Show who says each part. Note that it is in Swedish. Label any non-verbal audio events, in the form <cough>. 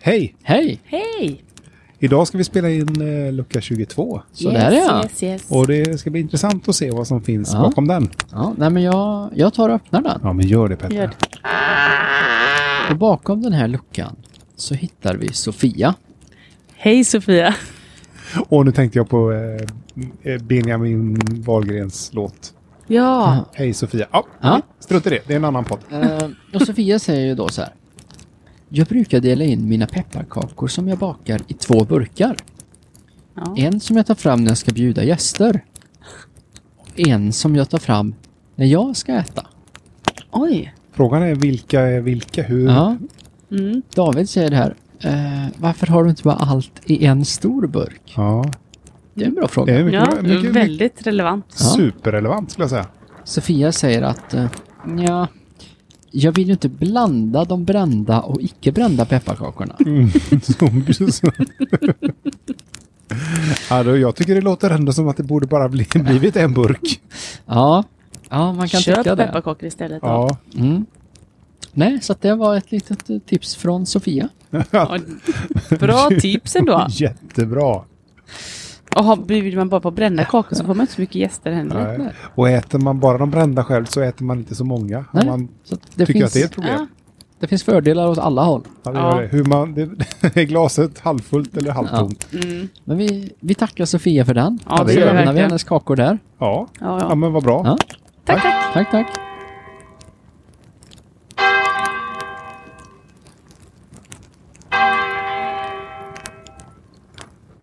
Speaker 1: Hej!
Speaker 2: Hej!
Speaker 3: Hej!
Speaker 1: Idag ska vi spela in eh, lucka 22.
Speaker 2: Så där, ja.
Speaker 3: Yes, yes.
Speaker 1: Och det ska bli intressant att se vad som finns
Speaker 2: Ja.
Speaker 1: bakom den.
Speaker 2: ja. Nej, men jag, jag tar och öppnar den.
Speaker 1: Ja, men gör det Petter.
Speaker 3: Gör det.
Speaker 2: Och bakom den här luckan så hittar vi Sofia.
Speaker 3: Hej Sofia!
Speaker 1: Och nu tänkte jag på eh, eh, Benjamin Wahlgrens låt.
Speaker 3: Ja,
Speaker 1: Hej Sofia. Ja,
Speaker 2: Ja.
Speaker 1: strunt i det. Det är en annan podd.
Speaker 2: Eh, och Sofia säger ju då så här. Jag brukar dela in mina pepparkakor som jag bakar i två burkar.
Speaker 3: Ja.
Speaker 2: En som jag tar fram när jag ska bjuda gäster. Och en som jag tar fram när jag ska äta.
Speaker 3: oj.
Speaker 1: Frågan är vilka är vilka? Hur?
Speaker 2: Ja.
Speaker 3: Mm.
Speaker 2: David säger det här. "Eh, varför har du inte bara allt i en stor burk?
Speaker 1: Ja.
Speaker 2: Det är en bra
Speaker 1: Det
Speaker 2: fråga.
Speaker 1: är mycket, mycket,
Speaker 3: Ja,
Speaker 1: mycket,
Speaker 3: väldigt relevant.
Speaker 2: Ja.
Speaker 1: superrelevant skulle jag säga. <laughs>
Speaker 2: Sofia säger att eh, ja, jag vill ju inte blanda de brända och icke brända pepparkakorna.
Speaker 3: Mm.
Speaker 1: ja, då, jag tycker det låter ändå som att det borde bara bli, blivit en burk.
Speaker 2: Ja, ja man kan
Speaker 3: Köp
Speaker 2: tycka det.
Speaker 3: pepparkakor istället. Ja.
Speaker 1: Ja,
Speaker 2: Mm. Nej, så att det var ett litet eh, tips från Sofia.
Speaker 3: Ja,
Speaker 1: <laughs>
Speaker 3: Bra tips ändå.
Speaker 1: jättebra.
Speaker 3: Och har- bjuder man bara på brända kakor så får man inte så mycket gäster heller.
Speaker 1: Nej. Och äter man bara de brända själv så äter man inte så många. Om
Speaker 2: Nej,
Speaker 1: Man
Speaker 2: så att det,
Speaker 1: tycker
Speaker 2: finns,
Speaker 1: att det är ett problem.
Speaker 2: det finns fördelar åt alla håll.
Speaker 1: Ja, det gör
Speaker 3: Ja.
Speaker 1: det. Hur man, det, <laughs> är glaset halvfullt eller halvtomt?
Speaker 3: Ja, mm.
Speaker 2: Men vi, vi tackar Sofia för den.
Speaker 3: ja
Speaker 1: det
Speaker 3: det
Speaker 1: gör vi
Speaker 3: gör jag
Speaker 2: Lämnar vi
Speaker 3: verkligen.
Speaker 2: hennes kakor där.
Speaker 1: Ja.
Speaker 3: Ja,
Speaker 1: Ja.
Speaker 3: ja.
Speaker 1: men vad bra.
Speaker 2: Ja.
Speaker 3: Tack, tack.
Speaker 2: Tack, tack.